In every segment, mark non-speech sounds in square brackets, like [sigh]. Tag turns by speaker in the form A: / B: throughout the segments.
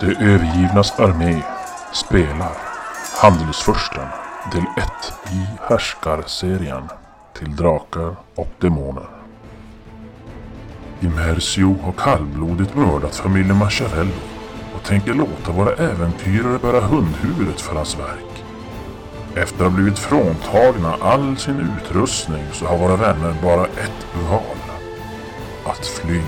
A: De övergivnas armé spelar Handelsfursten del 1 i Härskarserien till Drakar och Demoner. Immersio har kallblodigt mördat familjen Machiavello och tänker låta våra äventyrare bära hundhuvudet för hans verk. Efter att ha blivit fråntagna all sin utrustning så har våra vänner bara ett val. Att fly.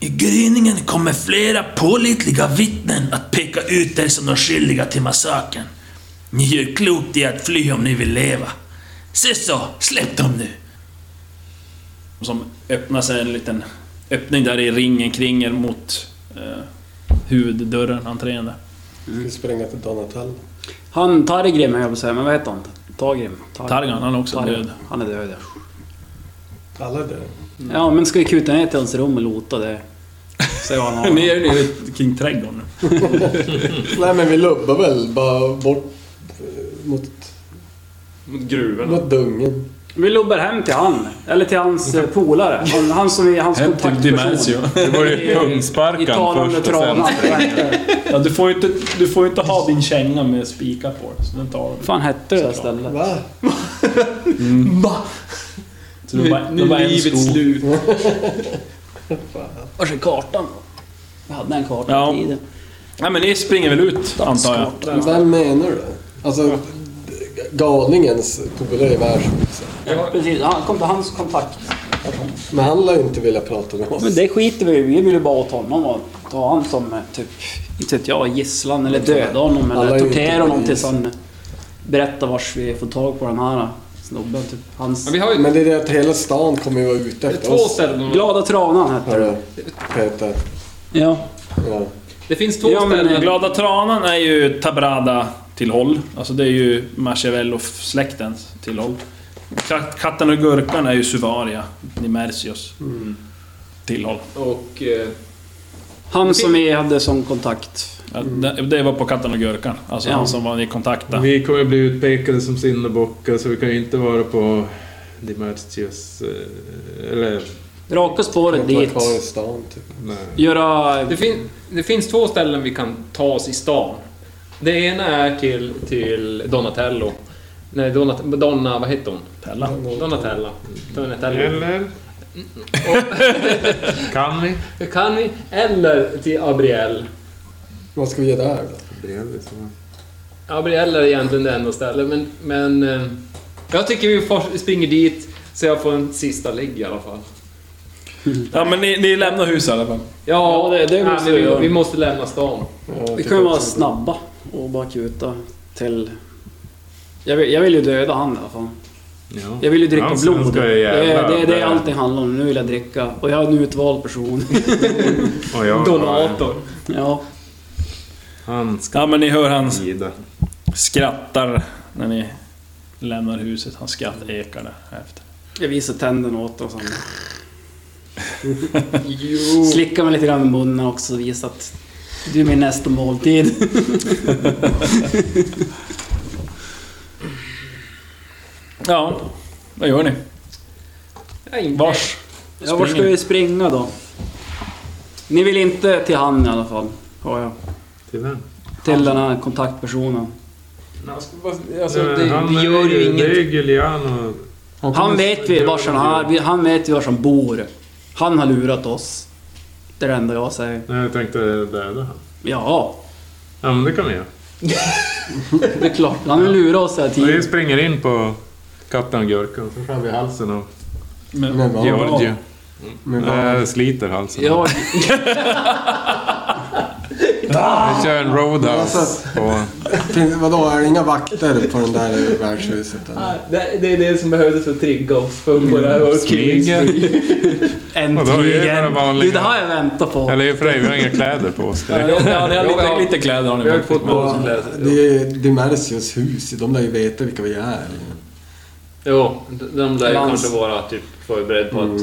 B: I gryningen kommer flera pålitliga vittnen att peka ut er som de skyldiga till massakern. Ni gör klokt i att fly om ni vill leva. Se så, släpp dem nu!
C: Som öppnar sig en liten öppning där i ringen kring er mot eh, huvuddörren, entrén där.
D: Vi spränga till Donatello.
E: Han Targrim höll jag på att säga, men vad heter han? Tagrim? Tar-
C: Targan, han är också
E: Targan.
C: död.
E: Han är död, ja.
D: Alla är döda.
C: Mm.
E: Ja, men ska vi kuta ner till hans rum och lota det? Säger han.
C: [laughs]
E: har.
C: Ni är ju nere kring trädgården nu.
D: Nej men vi lubbar väl bara bort eh, mot,
F: Mot gruvorna.
D: mot dungen.
E: Vi lubbar hem till han. Eller till hans eh, polare. Han, han som är hans
C: Hem till Dimension.
E: kontaktperson.
F: Det var ju
E: I- I
F: pungsparkan
E: talande
F: först och sen.
E: trana.
C: Ja, du får ju inte, du får ju inte ha din känga med spikar på så den tar
E: Vad fan hette det där stället?
D: Va?
C: så det var, det var en sko.
F: slut.
E: Vars är kartan då? Jag hade en karta
C: Ja.
E: i tiden.
C: Nej men ni springer väl ut, antar jag?
D: Vem menar du? Alltså, galningens polare i världshuset.
E: Precis, han kom till hans kontakt.
D: Men han lär ju inte vilja prata med oss.
E: Men det skiter vi i. Vi vill ju bara åt honom och ta honom som eh, typ, inte vet jag, gisslan eller döda honom
D: Alla är
E: eller
D: ju
E: tortera
D: inte
E: honom
D: polis.
E: tills han berättar vars vi får tag på den här snubben. Typ. Hans
F: Men vi har ju
D: Men det är det att hela stan kommer ju vara ute efter
F: två
D: oss.
F: ställen.
E: glada tranan hette det.
D: Hörru, Peter.
E: Ja.
D: Ja.
F: Det finns två
E: Ja, men,
F: ställen.
C: Glada tranan är ju Tabrada tillhåll. Alltså det är ju Machiavello-släktens tillhåll. Ka- Katten och gurkan är ju Suvaria, Nimersios tillhåll.
F: Och... Eh,
E: Han som vi hade som kontakt.
C: Ja, det- Det var på Katten och gurkan, alltså
E: Ja.
C: han som var ni kontaktade.
F: vi kommer bli utpekade som syndabockar så vi kan ju inte vara på Dimertius... Eh, eller...
E: Raka spåret
D: De tar
E: dit.
D: kvar i stan typ.
F: Nej.
E: Göra...
F: Det, fin- det finns två ställen vi kan ta oss i stan. Det ena är till, till Donatello. Nej, Donat Donna... Vad heter hon?
C: Tella.
F: Donatella. Donatello.
G: Eller? [laughs] kan vi?
F: Kan vi? Eller till Abriel.
D: Vad ska vi ge där då?
F: Abriel är egentligen det enda stället, men... men eh, jag tycker vi får, springer dit så jag får en sista ligg i alla fall.
C: Ja men ni, ni lämnar huset i alla fall.
F: Ja,
E: det- det
F: nej,
E: måste
F: men
E: vi
F: vi,
E: göra.
F: vi måste
E: [laughs]
F: lämna stan.
D: Ja,
E: Vi
D: typ
E: kan ju vara
D: också.
E: snabba och bara kuta till... Jag vill, jag vill ju döda han i alla fall. Jag vill ju dricka
G: Han ska- han
E: blod.
G: ska ju
E: det, är- det, är- det är
G: jävlar-
E: allt det handlar om. Nu vill jag dricka. Och jag är en utvald person. [laughs]
G: Och jag,
F: Donator.
E: ja.
G: Han ska
C: Ja men ni hör han
G: lida.
C: skrattar när ni lämnar huset. Hans skratt ekar där efter.
E: Jag visar tänderna åt och sånt. Slickar mig lite grann i munnen också och visar att du är min nästa måltid.
C: Ja, vad gör ni?
F: Nej, inte.
C: Vars?
E: [laughs] Ja, vart ska vi springa då? Ni vill inte till han i alla fall, har jag.
G: Till vem?
E: Till den här kontaktpersonen.
F: Alltså, det,
G: Eh, han
F: det
G: är
F: gör ju
G: Det är
F: inget.
G: ju Giuliano.
E: Han vet vi vars han är, vi- han vet vi vars han bor. Han har lurat oss. Det är det enda jag säger.
G: Nej, jag tänkte döda han.
E: Ja,
G: Ja, men det kan vi göra.
E: det är klart. Han har lurat oss hela
G: Vi
E: tiden.
G: springer in på katten och gurkan. Så skär vi halsen av
D: Men vad?
G: Georgio.
D: Men vad?
G: Nej, sliter halsen.
E: Jag,
G: Vi kör en roadhouse på...
D: Finns, vadå, är det inga vakter på den där i värdshuset eller?
F: det, det är det som behövdes för att trigga oss för att få det här att
G: Mm. Smyger.
E: äntligen!
G: Vadå, vi är bara vanliga.
E: Det är det här jag väntar på.
G: Eller i och för sig, vi har inga kläder på oss. direkt.
C: Ja, ni har
F: Ja,
C: lite,
F: ja.
C: lite kläder har ni
F: Vi har ju
C: med.
F: fått på oss
D: Ja,
F: en
D: Det
F: läs-
D: är Dimersios hus, de lär ju veta vilka vi är.
F: Jo, de lär ju
E: Lans.
F: kanske vara typ förberedd på att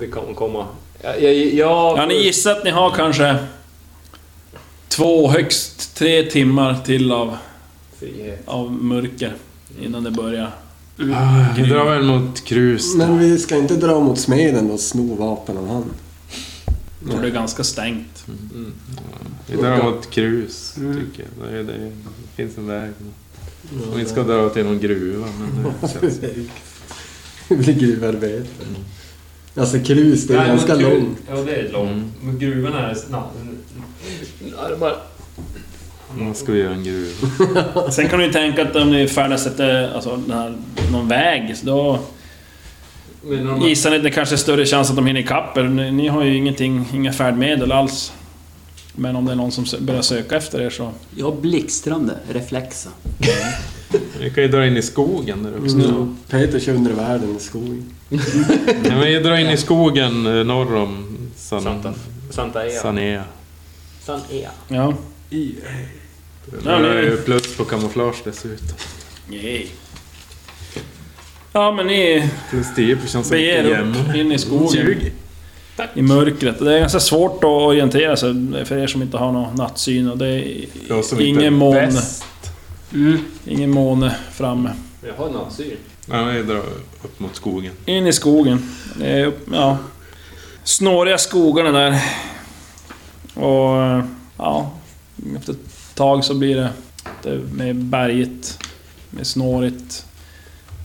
F: det kommer komma. Jag, jag, jag,
C: Ja, ni gissar att ni har kanske två, högst tre timmar till av,
F: Frihet.
C: av mörker innan det börjar.
G: Vi drar väl mot krus.
D: Men vi ska inte dra mot smeden och sno vapen av han.
C: För det är ganska stängt.
G: Vi drar mot krus, tycker jag. Det, är- det finns en väg. Och vi ska dra till någon gruva, men det känns...
D: [laughs] Det blir gruvarbete. Alltså krus, det är ganska långt.
H: Ja, det är långt.
G: Mm.
H: Men gruvorna är snabbt.
F: Bara,
G: Man ska göra en gruva.
C: Sen kan du ju tänka att om ni färdas efter alltså, den här, någon väg, så då
F: men de,
C: gissar ni att det kanske är större chans att de hinner ikapp er. Ni, ni har ju ingenting, inga färdmedel alls. Men om det är någon som sö- börjar söka efter er så...
E: Jag har blixtrande reflexer.
G: Vi kan ju dra in i skogen där uppe.
D: Mm. Peter kör under världen i skogen.
G: Nej, men vi drar in i skogen eh, norr om San...
F: Santa, Santa Ea.
G: Sanea.
F: San Ea.
C: Ja.
G: Det är ju plus på kamouflage dessutom.
C: Ja men ni
G: Plus 10 på chans att
C: beger
G: hitta jämn.
C: upp in i skogen. I mörkret. Det är ganska svårt att orientera sig för er som inte har någon nattsyn och det är
G: Jag som inte är
C: ingen måne.
G: bäst.
C: Ingen måne framme.
F: Jag har nattsyn.
G: Ja, vi drar upp mot skogen.
C: In i skogen. Det är upp- Ja. Snåriga skogarna där. Och... Ja. Efter ett tag så blir det... det med bergigt. Med snårigt.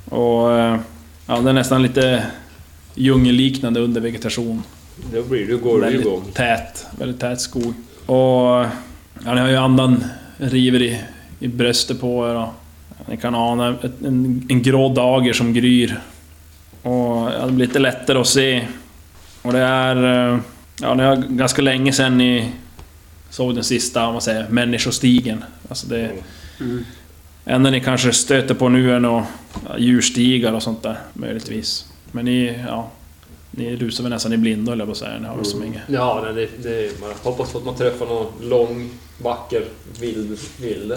C: Och... eh, Ja, det är nästan lite djungelliknande under vegetation.
F: Då blir du, går du
C: väldigt
F: igång.
C: tät, väldigt tät skog. Och... Ja, ni har ju andan river i, i bröstet på er och ni kan ana ett, en, en grå dager som gryr. Och ja, det blir lite lättare att se. Och det är... eh, Ja, det är ganska länge sedan ni såg den sista, om man säger, människostigen. Alltså det... Enda ni kanske stöter på nu är nog ja, djurstigar och sånt där, möjligtvis. Men ni, ja... Ni rusar väl nästan i blindo, höll jag på att säga. Ni har väl som inget...
F: Ja, nej, det, det är bara hoppas på att man träffar någon lång, vacker, vild vilde.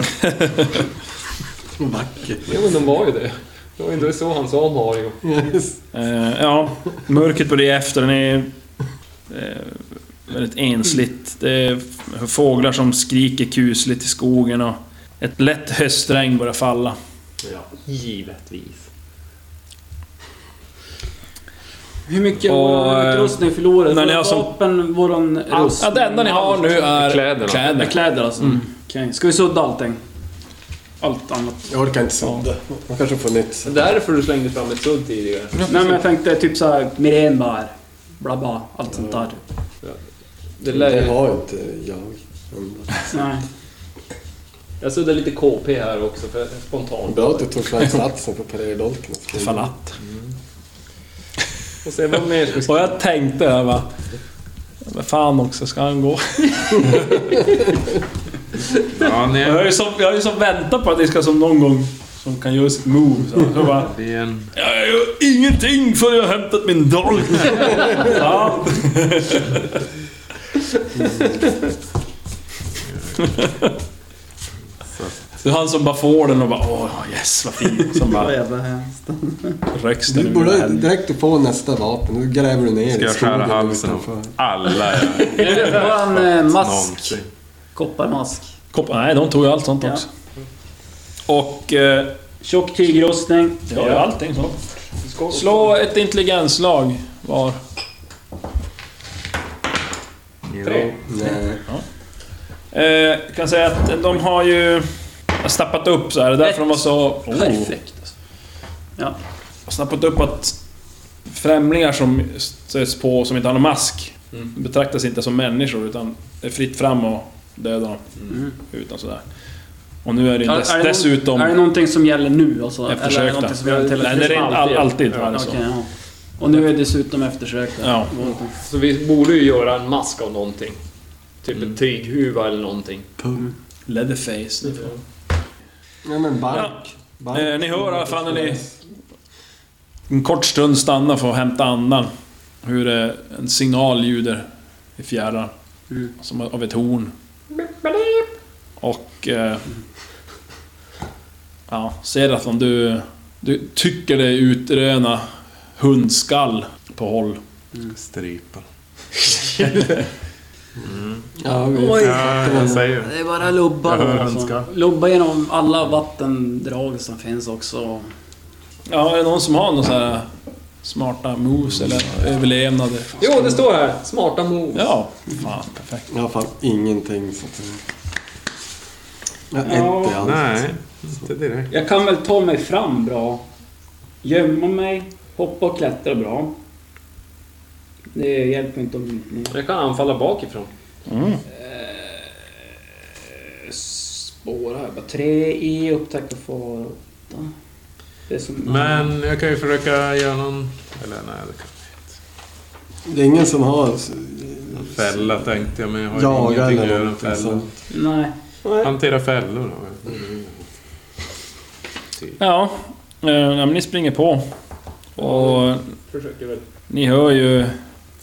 D: Vackert.
F: Jo, men de var ju det. Det var ju inte så han sa Mario.
D: Yes.
C: Eh, ja, mörkret börjar efter. Den är eh, väldigt ensligt. Det är f- fåglar som skriker kusligt i skogen och ett lätt höstregn börjar falla.
F: Ja, givetvis.
E: Hur mycket
C: Och, eh,
E: av vår utrustning förlorade?
C: när ni
E: Våra
C: har som-
E: vapen, våran rustning?
C: Ja, det enda ni har nu är Mm.
F: Kläderna.
C: kläder.
E: Kläder alltså? Okej. Ska vi sudda allting? Allt annat?
D: Jag orkar inte sudda. Man kanske får nytt.
F: Det är därför du slängde fram ett sudd tidigare.
E: Nej men jag tänkte typ såhär mirenbär, bla bla, allt sånt där.
F: Det
D: Det
F: lär ju...
D: har ju inte jag.
E: Nej.
F: Jag suddar lite KP här också, för spontant.
D: Bra att du tog fram satsen på Prairie-dolken.
C: Falatt.
F: Och sen vad mer ska vi
C: Och jag tänkte där va... Vad fan också, ska han gå?
G: Ja, ni
C: Jag har ju
G: är...
C: som, jag har ju som väntat på att ni ska som någon gång... Som kan göra sitt move. Så jag bara...
G: Det är en...
C: Jag gör ingenting förrän jag har hämtat min dolk. [laughs] ja. Det är han som bara får den och bara åh yes vad fin. Som bara
E: jävla hemskt.
C: rycks den
D: Du
C: ur
D: borde
C: händerna.
D: direkt på nästa vapen. Nu gräver du ner i
G: Ska jag skära
D: skogen
G: halsen
D: utanför.
G: av alla jag
E: Våran eh, mask.
G: någonsin.
E: Kopparmask.
C: Koppar- Nej, de tog ju allt sånt
E: Ja.
C: också. Och... Eh,
E: Tjock tygrustning.
C: ja, allting sånt. Slå ett intelligenslag var.
G: Tre.
D: Nej.
C: Eh, kan säga att de har ju stappat upp så här. Det är därför de var så... Oh.
E: Perfekt alltså. Ja.
C: har snappat upp att främlingar som stöts på som inte har någon mask betraktas inte som människor utan det är fritt fram och döda dem. Utan sådär. Och nu är det ju dess,
E: Är- är det någon-
C: dessutom...
E: Är det någonting som gäller nu alltså? Eller är det
C: Eftersökta.
E: någonting som gäller till
C: Nej, det är inte all, alltid. Ja,
E: Okej, ja. Och nu är dessutom eftersökta.
C: ja.
F: Så vi borde ju göra en mask av någonting. Typ
C: Mm.
F: en tyghuva eller någonting.
C: Leatherface. det får-
D: Ja, men bark. bark.
C: Eh, ni hör i alla fall när ni... En kort stund stannar för att hämta andan. Hur eh, en signal ljuder i fjärran. Som av ett horn. Och... Eh, ja, Serafon, du... Du tycker dig utröna hundskall på håll.
G: Stripa.
D: Ja, vi
E: Oj.
G: Ja, jag säger
E: Det är bara lubba
G: Jag hör
E: då, alltså.
G: önska.
E: Lubba genom alla vattendrag som finns också.
C: Ja, är det någon som har någon sån här smarta moves eller överlevnader.
F: Jo, det står här. Smarta moves.
C: Ja, fan perfekt.
D: Jag har fan ingenting så att... Jag har
E: Ja,
D: ett i allt.
G: Nej, inte direkt.
E: Jag kan väl ta mig fram bra. Gömma mig, hoppa och klättra bra. Det hjälper inte om inte...
F: Jag kan anfalla bakifrån.
E: Spåra här bara. Tre i, upptäcka fara. åtta. Det är som...
G: Men jag kan ju försöka göra någon... Eller nej, det kan
D: Det är ingen som har...
G: jag inte. Fälla tänkte jag, men jag har ju
D: Jaga
G: ingenting att
D: eller
G: göra en
D: någonting
G: fälla.
D: sånt.
E: Nej.
G: Hantera fällor då.
C: Ja, eh, ja, men ni springer på. Och
F: Försöker väl.
C: ni hör ju...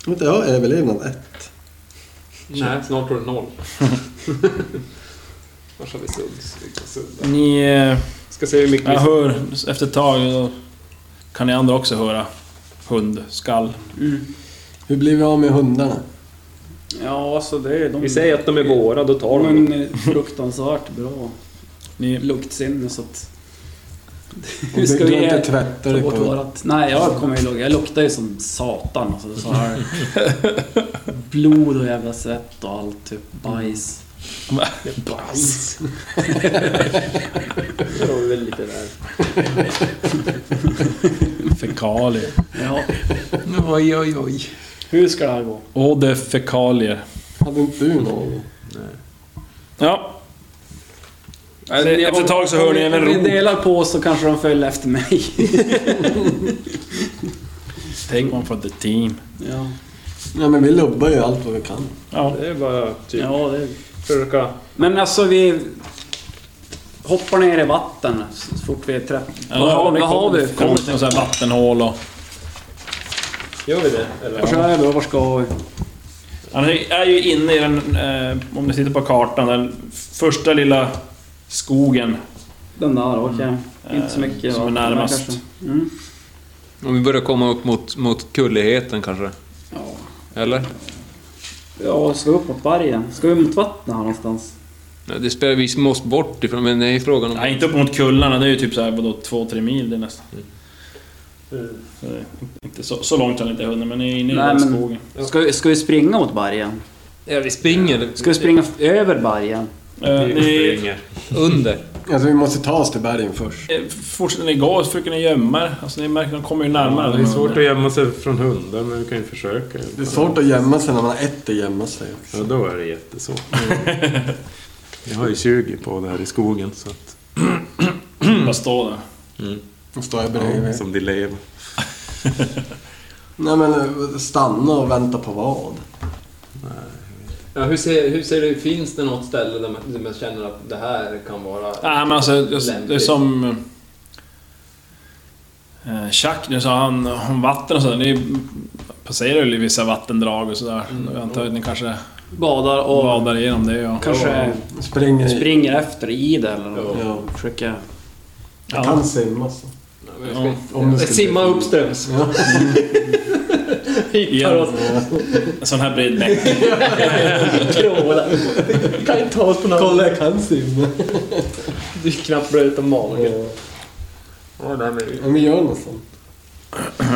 D: Vänta, jag har överlevnad ett.
F: Nej, snart tror du noll. Vars har vi sudd? Vi kan sudda.
C: Ni... eh,
F: Ska se hur mycket vi...
C: Jag hör efter ett tag då kan ni andra också höra hundskall.
D: Hur blir vi av med hundarna?
E: Ja, så det är de...
F: Vi säger att de är våra, då tar de dem.
E: De är fruktansvärt bra
C: Ni,
E: luktsinne så att...
D: Om du,
E: Hur ska
D: du
E: vi
D: inte
E: ta
D: tvättar dig
E: bort
D: på...
E: vårat? Nej, jag kommer ihåg. Jag luktar ju som satan. Alltså, det är så här blod och jävla svett och allt. Typ bajs.
F: Bajs! det var väl lite väl.
C: fekalier.
E: Ja,
G: Oj, oj, oj.
E: hur ska det här gå?
C: Åh, det är fekalier.
D: Hade inte du någon?
C: Ja.
E: Alltså,
C: efter ett tag så hör ni även
E: Om vi
C: rop.
E: delar på oss så kanske de följer efter mig.
C: Take one for the team.
E: ja.
D: Ja men vi lubbar ju allt vad vi kan.
C: Ja.
F: Det är bara typ...
E: ja, det...
F: Försöka...
E: Men alltså vi... Hoppar ner i vatten så fort vi är 30. vad, har- vad har vi? för-
C: Kommer till något sånt här vattenhål och...
F: Gör vi det? Eller?
E: Vart är vi och vart ska vi?
C: Han är ju inne i den, eh, om ni sitter på kartan, den första lilla skogen.
E: Den där, okej. Inte så mycket.
C: Som är
E: vatten,
C: närmast.
E: kanske. Mm.
G: Om vi börjar komma upp mot, mot kulligheten kanske?
E: Ja.
G: Eller?
E: Ja, ska vi upp mot bergen? Ska vi mot vattnet här någonstans?
G: Nej, det spelar vi måste bort ifrån, men det är ju frågan om...
C: Nej, inte upp mot kullarna. Det är ju typ så här, vadå, två, tre mil det är nästan.
G: Mm.
C: Så, det är inte så, så långt har ni inte hunnit, men ni är inne i
E: Nej,
C: den
E: men-
C: skogen.
E: Ska vi, ska vi springa mot bergen?
G: Ja, vi springer.
E: Ska vi springa f- över bergen?
C: Eh, ni
G: Under.
D: Alltså vi måste ta oss till bergen först.
C: eh, fortsätter ni gå så försöker ni gömma er. Alltså ni märker att de kommer ju närmare.
G: det är svårt att gömma sig från hundar, men vi kan ju försöka.
D: Det är svårt att gömma sig när man har ett att gömma sig också.
G: Ja, då är det jättesvårt. [laughs] Jag har ju 20 på det här i skogen, så att...
C: bara stå där.
D: Då står jag bredvid.
G: Som de lever.
D: Nej men eh, stanna och vänta på vad?
F: Ja, hur, ser, hur ser det ut? Finns det något ställe där man, där man känner att det här kan vara...
C: Nej men alltså, det- det är som... eh, Chuck nu sa han om vatten och sådär. Ni passerar ju vissa vattendrag och sådär.
G: Mm.
C: Jag antar att ni kanske
E: Badar och
C: badar igenom det och...
E: kanske
D: Springer i.
E: springer efter i det eller något.
D: Ja.
E: Försöka...
D: Jag kan simma så.
C: Ja,
D: Om det skulle-
F: Simma uppströms. [laughs]
D: Ja.
C: i en sån här bred bäck.
F: Kråla. Kan inte ta oss på något...
D: Kolla jag kan simma.
F: Det är knappt bröt om magen. Ja, där med.
D: Om vi gör något sånt.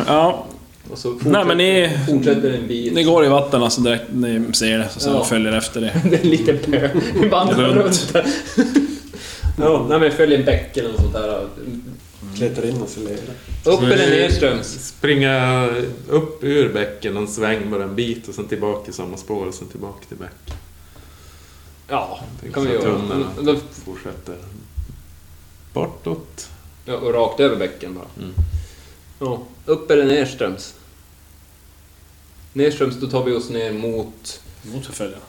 C: Ja,
F: Och så fortsätter,
C: nej men ni...
F: fortsätter en bil.
C: Ni går i vatten alltså direkt, ni ser det. Och sen
F: Ja.
C: följer efter det.
F: Det är [laughs] lite pö. Vi vandrar
C: Runt.
F: runt där. Ja, nej men följ en bäck eller något sånt där.
D: Klättrar in och så lever.
F: Upp eller nerströms.
G: Springa upp ur bäcken, en sväng bara en bit och sen tillbaka i samma spår och sen tillbaka till bäcken.
F: Ja, det
G: Tänk
F: kan vi
G: så att
F: göra.
G: tunnorna-
F: Men då-
G: Fortsätter bortåt.
F: Ja, och rakt över bäcken bara.
G: Mm.
F: Ja, upp eller nerströms? Nerströms, då tar vi oss ner mot...
C: Mot förföljarna.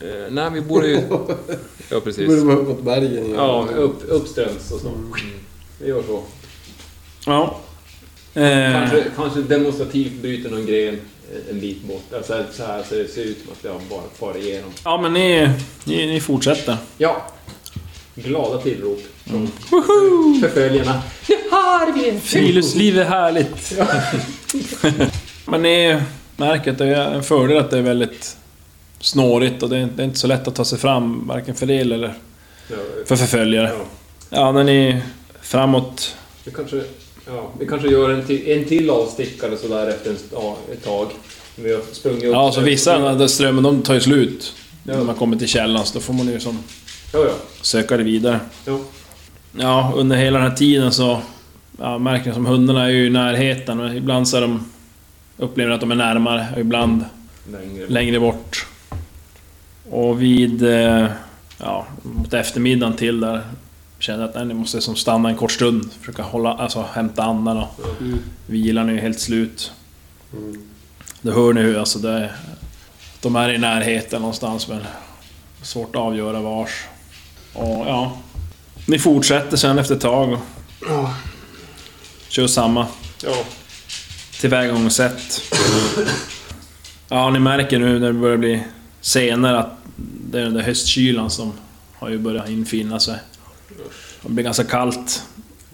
F: Eh, nej, vi borde ju... Ja,
D: Då borde
F: precis.
D: man upp mot bergen igen.
F: Ja, upp, uppströms och så. Vi gör så.
C: Ja. Eh,
F: Kanske, kanske demonstrativt bryter någon gren en bit bort. Alltså så här så det ser ut som att jag bara far igenom.
C: ja men ni, ni, ni fortsätter.
F: Ja. Glada tillrop från förföljarna. Nu har vi en!
C: Friluftsliv är härligt. [laughs] Men ni märker att det är en fördel att det är väldigt snårigt och det är, det är inte så lätt att ta sig fram, varken för er eller
F: Ja,
C: för förföljare. Ja, när ni framåt...
F: vi kanske...
H: Ja.
F: Vi kanske gör en till, en till avstickare sådär efter en, st- ja, ett tag. Vi har sprungit upp...
C: Ja, så vissa av den där strömmen, de tar ju slut. När man kommer till källan, så då får man ju som
F: Ja, ja.
C: söka det vidare.
F: Jo.
C: Ja, under hela den här tiden så ja, märker ni som hundarna är ju i närheten och ibland så är de... Upplever att de är närmare och ibland
F: Längre.
C: längre bort. Och vid... eh, Ja, mot eftermiddagen till där kände jag att nej, ni måste som stanna en kort stund. Försöka hålla, alltså hämta andan och vilan är ju helt slut. Då hör ni hur alltså det... De är i närheten någonstans men... Svårt att avgöra vars. Och ja... Ni fortsätter sen efter ett tag och... Kör samma
F: Ja.
C: tillvägagångssätt. Ja, ni märker nu när det börjar bli senare att det är den där höstkylan som har ju börjat infinna sig. Det blir ganska kallt.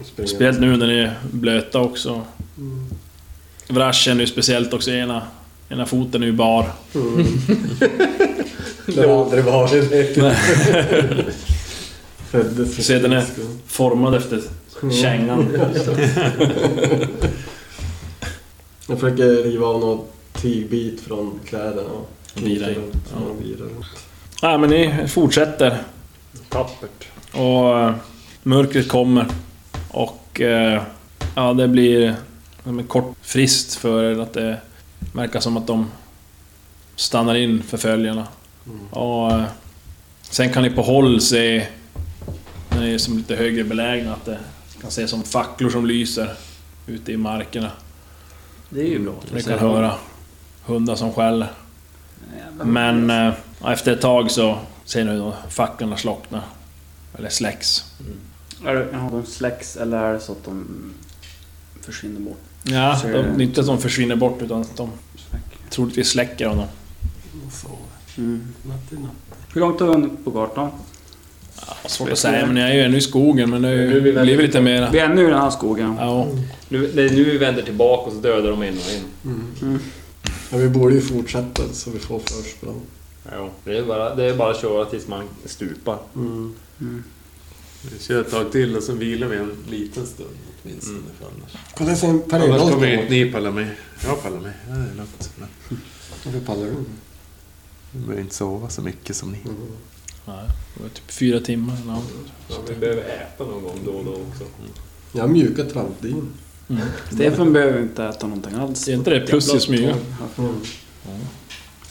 C: Speciellt nu när ni är blöta också. Vrash är nu speciellt också, ena, ena foten är ju bar.
D: Mm. [laughs] Det har aldrig varit [laughs] det. Föddes för
C: Sedan är-
D: skull.
C: Formad efter kängan.
D: Jag försöker riva av någon tygbit från kläderna och
C: Vira in.
D: runt. Ja, vira runt.
C: Ja, men ni fortsätter.
F: Tappert.
C: Och eh, mörkret kommer. Och eh, ja, det blir som en kort frist för er att det verkar som att de stannar in förföljarna. Och eh, sen kan ni på håll se, när ni är som lite högre belägna, att det kan se som facklor som lyser ute i markerna.
E: Det är ju bra.
C: Ni kan höra hundar som skäller. Men eh, efter ett tag så ser ni hur facklorna slocknar. Eller släcks.
E: Är det, ja, de släcks eller är det så att de försvinner bort?
C: Ja,
E: Så är
C: de,
E: det-
C: det är inte att de försvinner bort utan att de
E: Släck.
C: troligtvis släcker honom.
E: Mm.
D: Natt i natt.
E: Hur långt har vi hunnit på gatan?
C: Svårt att säga, men ni är ju ännu i skogen men det är
F: Nu
C: ju,
F: är vi
C: blir
F: väl-
C: väl lite mera...
E: Vi är nu i den här skogen.
C: Ja,
F: Nu, det är nu vi vänder tillbaka och så dödar de en och en.
D: Mm. Ja, vi borde ju fortsätta så vi får försprång.
F: Ja. Det, är bara, det är bara att köra tills man stupar.
D: Mm.
G: Vi kör ett tag till och så vilar vi en liten stund åtminstone. för Annars,
D: Kolla sen
G: annars
D: Paredos
G: kommer ju inte
D: då.
G: ni palla mig. Jag pallar mig. Ja, det är lugnt. Men
D: Varför pallar du?
G: jag behöver inte sova så mycket som ni.
C: nej, det var typ fyra timmar eller något.
F: Ja, vi behöver äta någon gång då och då också.
D: Jag har mjuka trampdyn.
E: Stefan behöver inte äta någonting alls.
C: Ser inte det plus i smyga?
D: Mm.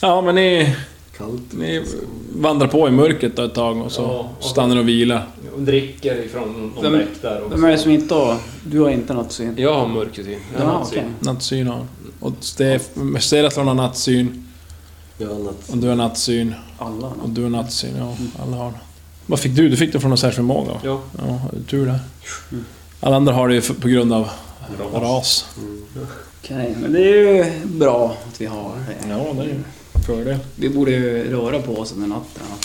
C: Ja, men ni,
D: Kallt.
C: ni vandrar på i mörkret då ett tag och så
F: Ja, och-
C: stannar ni och vilar.
F: Och dricker ifrån någon
E: Vem-
F: bäck där också.
E: Vem är det som inte har... Du har inte något syn?
F: Jag har mörkersyn. Jag har
E: Ja,
F: nattsyn.
C: typ.
E: okej.
C: Nattsyn har han. Och Stef- Seraflon har nattsyn.
D: Jag har natt.
C: Och du har nattsyn.
E: Alla.
C: Och du har nattsyn, ja. Alla har det. Vad fick du? Du fick det från någon särskild förmåga? va?
F: Ja.
C: Ja, tur det. Alla andra har det ju för- på grund av ras.
E: Okej, men det är ju bra att vi har det.
C: Ja, det är ju en fördel.
E: Vi borde ju röra på oss under natten. va?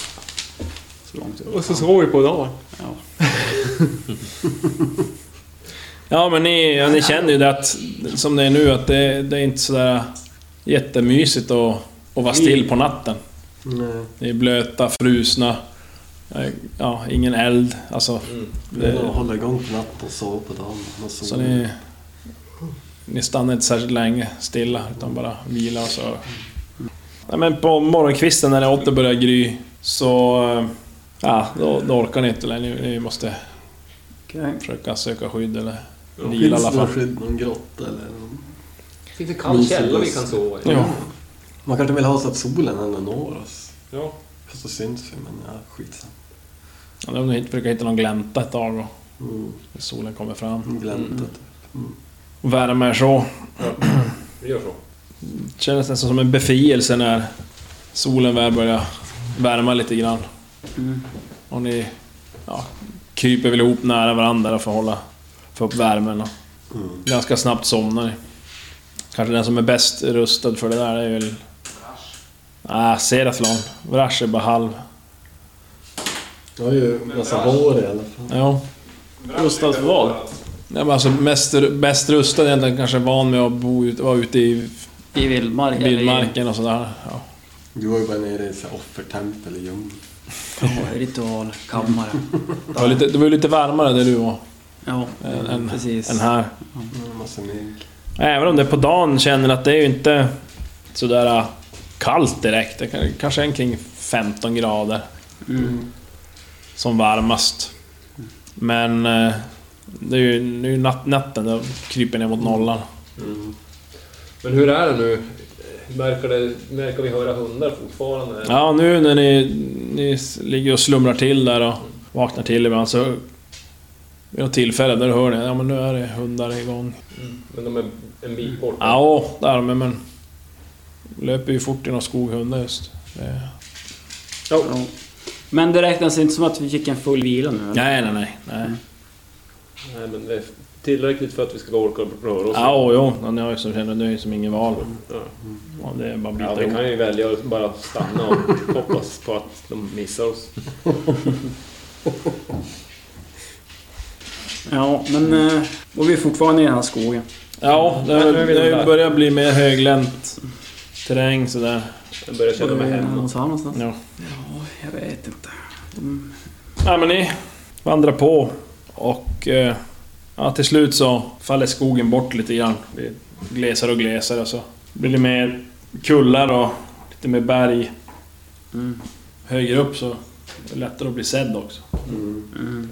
E: Så långt vi
F: Och så sover vi på dagen.
E: Ja.
C: Ja, men ni, ja, ni känner ju det att, som det är nu, att det, det är inte sådär jättemysigt att, att vara still på natten.
D: Nej.
C: Ni är blöta, frusna, eh, ja, ingen eld. Alltså,
D: Det...
C: det,
D: Hålla igång på natten och sova på dagen. Och
C: så
D: sova.
C: ni, ni stannar inte särskilt länge stilla, utan bara vilar och så. Nej, men på morgonkvisten när det åter börjar gry, så... eh, Ja, då, då orkar ni inte längre. Ni, ni måste
E: Okej.
C: försöka söka skydd eller vila i
D: Finns
C: alla
D: det någon
C: fall.
D: skydd, någon grotta eller? någon-
F: Finns det kall källa vi kan sova i?
C: Ja.
D: Man kanske vill ha så att solen ändå når oss.
F: Ja.
D: Fast då syns vi, men ja, skitsamma.
C: Ja, de hit- försöker hitta någon glänta ett tag och
D: Mm.
C: solen kommer fram.
D: Glänta.
C: Och värme är så.
F: Vi gör så.
C: Känns nästan som en befrielse när solen väl börjar värma lite grann.
E: Mm.
C: Och ni ja, kryper väl ihop nära varandra för att hålla, få upp värmen. Och
F: Mm.
C: Ganska snabbt somnar ni. Kanske den som är bäst rustad för det där är väl... Ah, Seraflon. Vrash är bara halv.
D: Jag har ju massa hår i alla fall.
C: Ja.
E: Gustavs val.
C: Nej, men alltså mest, bäst rustad är egentligen kanske van med att bo ut, vara ute i
E: I vildmarken.
C: vildmarken och sådär. Ja.
D: Du var ju bara nere i så här offertempel i djungeln.
E: Ja, ritualkammare.
C: Det var, lite, det var ju lite varmare där du var.
E: Ja,
C: än, än,
I: Precis.
C: än här.
D: Mm, Massa mygg.
C: Även om det på dagen känner att det är ju inte sådär äh, kallt direkt. Det kan- kanske är kring 15 grader. Mm. Som varmast. Men eh, det är ju nu natt, natten, då kryper ner mot nollan.
F: Men hur är det nu? Verkar, det, verkar vi höra hundar fortfarande?
C: Ja, nu när ni, ni s- ligger och slumrar till där och vaknar till ibland så... Vid något tillfälle där hör ni ja men nu är det hundar igång.
F: Men de är en bit bort?
C: Ja, det är de men... Löper ju fort genom skoghundar just. Det-
E: Jo. Men det räknas inte som att vi fick en full vila nu? eller?
C: Nej, nej, nej. nej.
F: Nej, men det är tillräckligt för att vi ska orka röra oss.
C: Ja, och jo, men jag har ju som känner, det är ju som ingen val.
F: Ja.
C: Ja, det är bara att
F: Ja,
C: bita
F: vi kan
C: ihop.
F: ju välja att bara stanna och hoppas på att de missar oss.
E: Ja, men... eh, Och vi är fortfarande i den här skogen.
C: Ja, det,
F: Men nu är vi
C: det
F: där.
C: börjar bli mer höglänt terräng sådär.
F: Jag börjar känna mig
E: Eh,
F: hemma.
E: någonstans här någonstans?
C: Ja.
E: Ja, jag vet inte.
C: Nej men ni vandrar på och eh, ja, till slut så faller skogen bort lite grann. Det blir glesare och glesare och så blir det mer kullar och lite mer berg.
E: Mm.
C: Högre upp så är det lättare att bli sedd också.
F: Mm.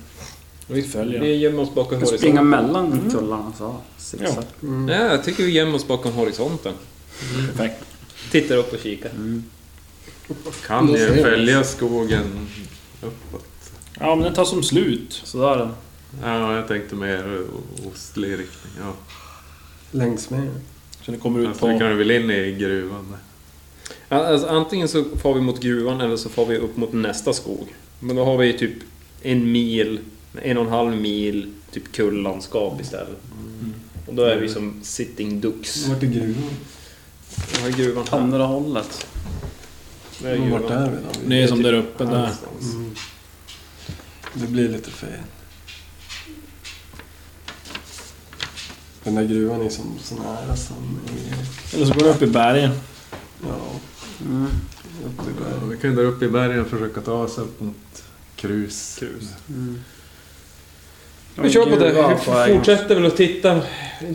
C: Vi följer.
F: Vi gömmer oss bakom
E: Vi kan springa
F: horisonten.
E: mellan
C: Mm.
E: kullarna så här. Zigzag.
G: Mm.
F: Nej, jag tycker vi gömmer oss bakom horisonten.
C: Perfekt.
F: Tittar upp och kikar.
C: Mm.
G: Kan
D: Då ser
G: ju
D: vi.
G: följa skogen uppåt.
C: Ja men den tar som slut.
E: Sådär.
G: Ja, jag tänkte mer o- ostlig riktning. Ja.
D: Längs med.
C: Så ni kommer ut
G: Fast vi
C: på...
G: kan väl in i gruvan.
F: Ja, Alltså, antingen så far vi mot gruvan eller så far vi upp mot nästa skog. Men då har vi typ en mil, en och en halv mil typ kullandskap istället.
C: Mm.
F: Och då är vi som sitting ducks.
D: Vart är gruvan?
F: Den här gruvan här.
E: Andra hållet.
F: Den här
D: Men Vart
F: gruvan.
D: är vi då?
C: Ni är som där uppe
F: Här
C: där.
F: någonstans.
D: Mm. Det blir lite fel. Den där gruvan är som så nära som...
C: Eller så går ni upp i bergen.
D: Ja,
E: Mm.
D: uppe i
G: Ja,
D: bergen.
G: vi kan ju dra upp i bergen och försöka ta oss upp mot krus. krus.
F: Vi kör på
E: Gruvan
F: det.
E: på
F: Vi
E: vägen.
F: fortsätter väl att titta.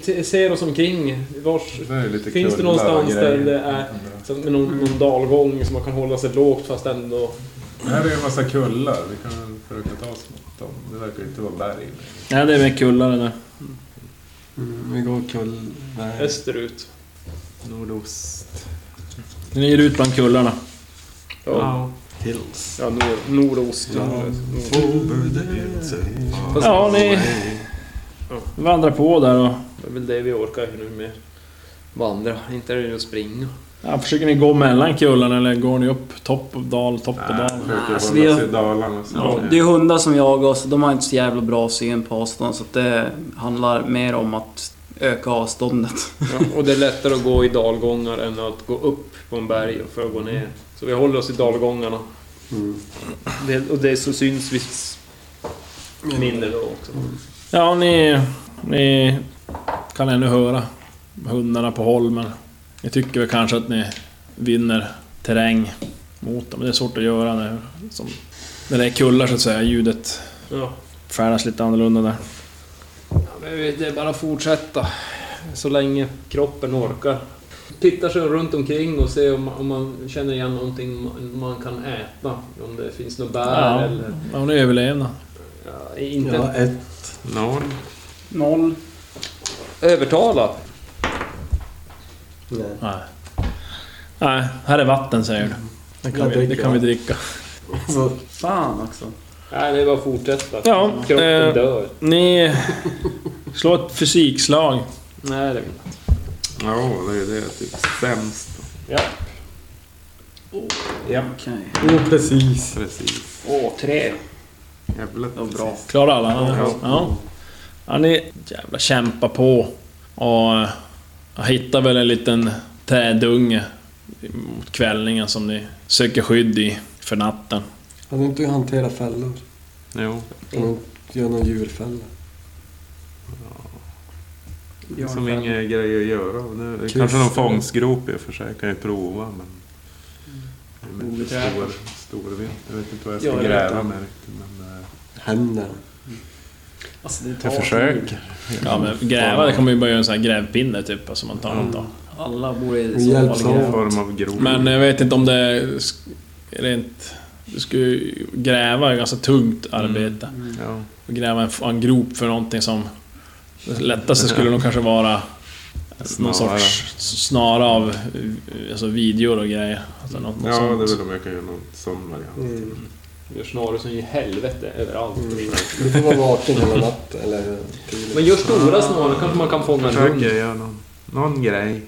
F: T- Ser oss omkring. Vars,
G: Det är lite
F: Finns det
G: kullar och
F: någonstans
G: grejer.
F: där det är- som med någon, någon dalgång som man kan hålla sig lågt fast ändå...
G: Här är ju en massa kullar. Vi kan väl försöka ta oss mot dem. Det verkar ju inte vara berg.
C: Nej det är mer kullar det där.
D: Mm, vi går kull... Nej.
F: Österut.
G: Nordost.
C: Ni är ut bland kullarna.
F: Ja,
D: Hills.
F: ja nord, nordost.
D: Ja.
F: Nord-
D: Over the hills and far
C: Ja, ni-
D: away.
C: Vandrar på där och...
F: Det är väl det vi orkar nu mer. Vandra, inte är det ju att springa.
C: Ja, försöker ni gå mellan kullarna eller går ni upp topp och dal, topp och
G: Nej,
C: dal?
G: försöker
E: Alltså,
G: hålla
E: vi har-
G: oss i Dalarna. och så.
E: Ja, det är ju hundar som jagar oss och de har inte så jävla bra syn på avstånd så att det handlar mer om att öka avståndet.
F: Ja, [laughs] och det är lättare att gå i dalgångar än att gå upp på en berg och för att gå ner. Så vi håller oss i dalgångarna.
D: Mm.
F: Det, och det så syns vi s- mindre då också.
C: Ja, ni, ni kan ännu höra hundarna på holmen. Ni tycker väl kanske att ni vinner terräng mot dem, men det är svårt att göra när, som, när det är kullar så att säga. Ljudet
F: Ja.
C: färdas lite annorlunda där.
F: Ja, men vi- Det är bara att fortsätta. Så länge kroppen orkar. Tittar sig runt omkring och ser om, om man känner igen någonting man, man kan äta. Om det finns några bär
C: Ja,
F: eller...
C: ja hon är överlevnad.
F: Ja, inte
D: Ja, ett.
G: Norr.
E: Noll.
F: övertalat.
D: Nej.
C: Nej. Nej, här är vatten säger du. Det kan,
D: Jag
C: vi, det
D: dricker
C: kan vi dricka.
D: Så,
E: Fan också.
F: Nej, det är bara att fortsätta.
C: Ja,
F: Kroppen
C: eh.
F: dör.
C: Ni slår ett fysikslag.
F: Nej, det vill jag inte.
G: Ja, det är det. jag är Typ sämst.
F: Ja.
E: Okej.
D: jo, precis.
G: Precis.
E: Åh, tre.
G: Jävla
E: Det var bra.
C: Klarar alla?
G: Ja.
C: ja. Ja, ni jävla kämpar på. Och eh, jag hittar väl en liten trädunge mot kvällningen som ni söker skydd i för natten.
D: Hade inte du hanterat fällor?
G: Jo.
D: Kan du göra någon djurfälla?
G: Som inga grejer att göra. Nu, kanske någon fångstgrop i och för sig. Kan jag prova men... Det är inte stor, stor vind. Mm. Jag vet inte vad jag ska
F: Ja, jag vet
G: gräva med riktigt. Men, eh,
D: Händerna.
E: Alltså, det tar
G: Jag
E: tid.
G: försöker.
C: Ja, men gräva, det kommer ju bara göra en sån här grävpinne typ, alltså man tar något av.
E: Alla borde...
D: hjälps
E: så-
G: Någon form av grov.
C: Men eh, jag vet inte om det är sk- rent... Du ska ju gräva, är ganska tungt arbete.
G: Ja.
C: Gräva en, f- en grop för någonting som... Det lättaste skulle nog kanske vara någon
G: Snarare.
C: sorts snara av eh, alltså, videor och grejer. Alltså, något, något
G: Ja, det är
C: sånt.
G: väl om jag kan göra någon sån variant.
F: Gör snarare som i helvete överallt.
D: Du får vara vaken hela natten. Eller tiden.
F: Men gör stora snarare, kanske man kan fånga en hund.
G: Försöker göra någon, någon grej.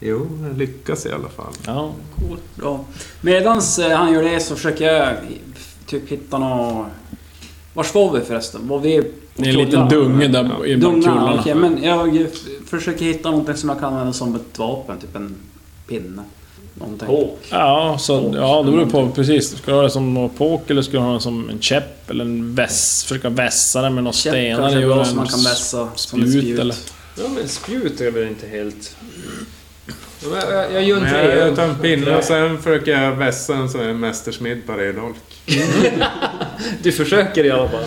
G: Jo, jag lyckas i alla fall.
C: Ja.
E: Coolt, bra. Medans eh, han gör det så försöker jag typ hitta något... Vars var vi förresten? Var vi...
C: Det är en liten dunge där i bland
E: Dunga,
C: kullarna.
E: okej. men jag f- försöker hitta någonting som jag kan använda som ett vapen. Typ en pinne. Någonting.
C: Ja, så, ja, det beror på precis. Ska du ha det som någon påk eller ska du ha det som en käpp eller en väss? Försöka vässa den med några
E: Käpp
C: stenar?
E: kanske är
C: göra
E: bra
C: en
E: som man kan
C: s-
E: vässa. som ett
C: Spjut eller...
F: Ja men spjut är väl inte helt... Ja, men Jag, jag, jag gör en
G: Men jag tar en
F: treögd.
G: pinne och sen försöker jag vässa den så är jag en mästersmed på redolk.
F: Du försöker i alla fall.